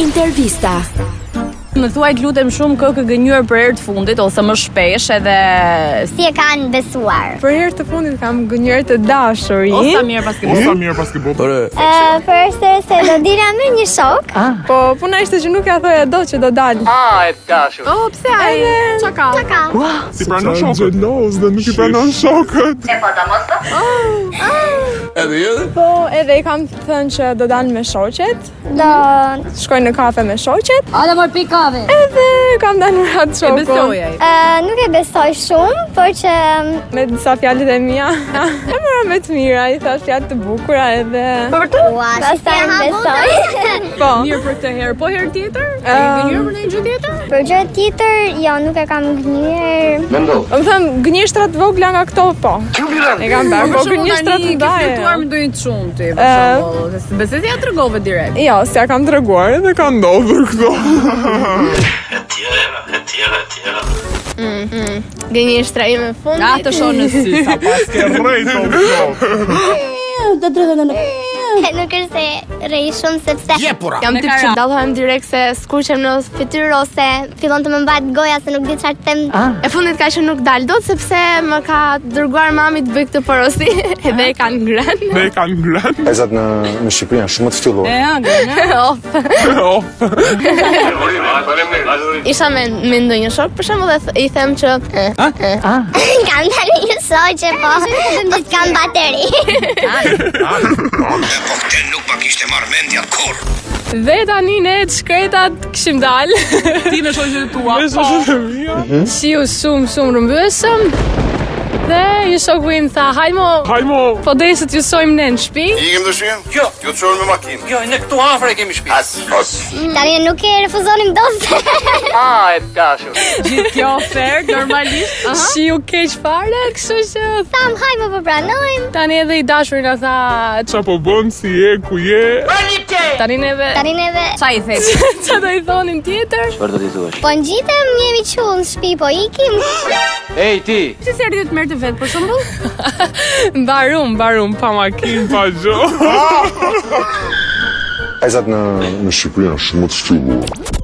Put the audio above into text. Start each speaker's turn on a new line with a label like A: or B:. A: Intervista.
B: Më thuaj të lutem shumë kë kë gënjur për herë të fundit ose më shpesh edhe
C: Si e kanë besuar?
D: Për herë të fundit kam gënjër të dashurin,
B: ose mirë pas ke bërë.
E: Sa mirë pas ke bërë.
C: Ë, për është se do dilja me një shok.
D: po puna ishte që nuk ja thoja dot që do dal.
F: Ah, e të dashur.
B: Oh, pse ai? Çka ka?
C: Çka ka?
E: Ti pranon shokët. Xheloz dhe nuk i pranon shokët.
D: Po edhe i kam thënë që do dal me shoqet,
C: Do
D: shkoj në kafe me shoqet. Ala mor pikave. Edhe kam dalë me atë
B: E
D: shokun.
B: besoj ai.
C: Ë, nuk e besoj shumë, por që mm,
D: Me disa fjalët e mia. e mora me të mira, i thash fjalë të bukura edhe
C: ua, pastaj më besoj.
D: po.
B: Po, Mirë për këtë herë, po herë tjetër? Um, e
D: Ëm.
B: gënjur për një gjë tjetër?
C: Për gjë tjetër, jo, nuk e kam gënjur.
F: Mendo.
D: Më thëm gënjeshtra të vogla nga këto po.
F: Ju miran.
D: E kam parë, po gënjeshtra të
B: tani ke
D: ndaje.
B: flirtuar me ndonjë çun ti, për
D: Ë.
B: shembull. Se Besoj se ja tregove direkt.
D: Jo, s'ja kam treguar edhe kam ndodhur këto.
G: Gënjeshtra ime fund.
B: Na të shoh në sy sapo.
E: Ke rrejtë o flokë.
C: Nuk është se rrej shumë sepse
G: Jam tip që dallohem direkt se skuqem në fytyrë ose
C: fillon të më mbahet goja se nuk di çfarë të them.
G: e fundit ka që nuk dal dot sepse më ka dërguar mami të bëj këtë porosi edhe e kanë ngrënë.
E: Ne i kanë ngrënë.
H: Vajzat në në Shqipëri janë shumë të ftyllur.
B: E ëngë.
G: Of. Isha me me ndonjë shok për shembull dhe th- i them që eh,
C: kam dalë një shoqe, po. Po kam bateri.
D: Dhe tani ne të shkretat këshim dalë.
B: Ti me shoqjet tua.
E: Me shoqët e mia.
D: Shiu shumë shumë rëmbësëm. Dhe një shoku im tha, hajmo,
E: Hajmo.
D: po deri se t'ju sojmë ne në shtëpi.
F: Jo, ju të shohën me makinë. Jo, ne këtu afër e kemi shtëpi.
C: Tani nuk e refuzonim dot.
F: Ah, e të dashur.
B: Gjithë kjo ofertë normalisht. Aha.
D: Shiu keq fare, kështu që
C: Tham, hajmë po pranojmë.
D: tani edhe i dashurin a tha,
E: Qa po bën, si je, ku je.
D: tani neve
C: Tani neve
B: Sa i the?
D: që do i thonin tjetër.
F: Çfarë do t'i thuash?
C: po ngjitëm, jemi qull në shtëpi, po ikim.
F: Ej ti,
B: Ti se erdhi të merr të vet për shembull?
D: Mbarum, mbarum, pa makinë.
E: Kim pa gjo.
H: Vajzat në në Shqipëri janë shumë të ftyllur.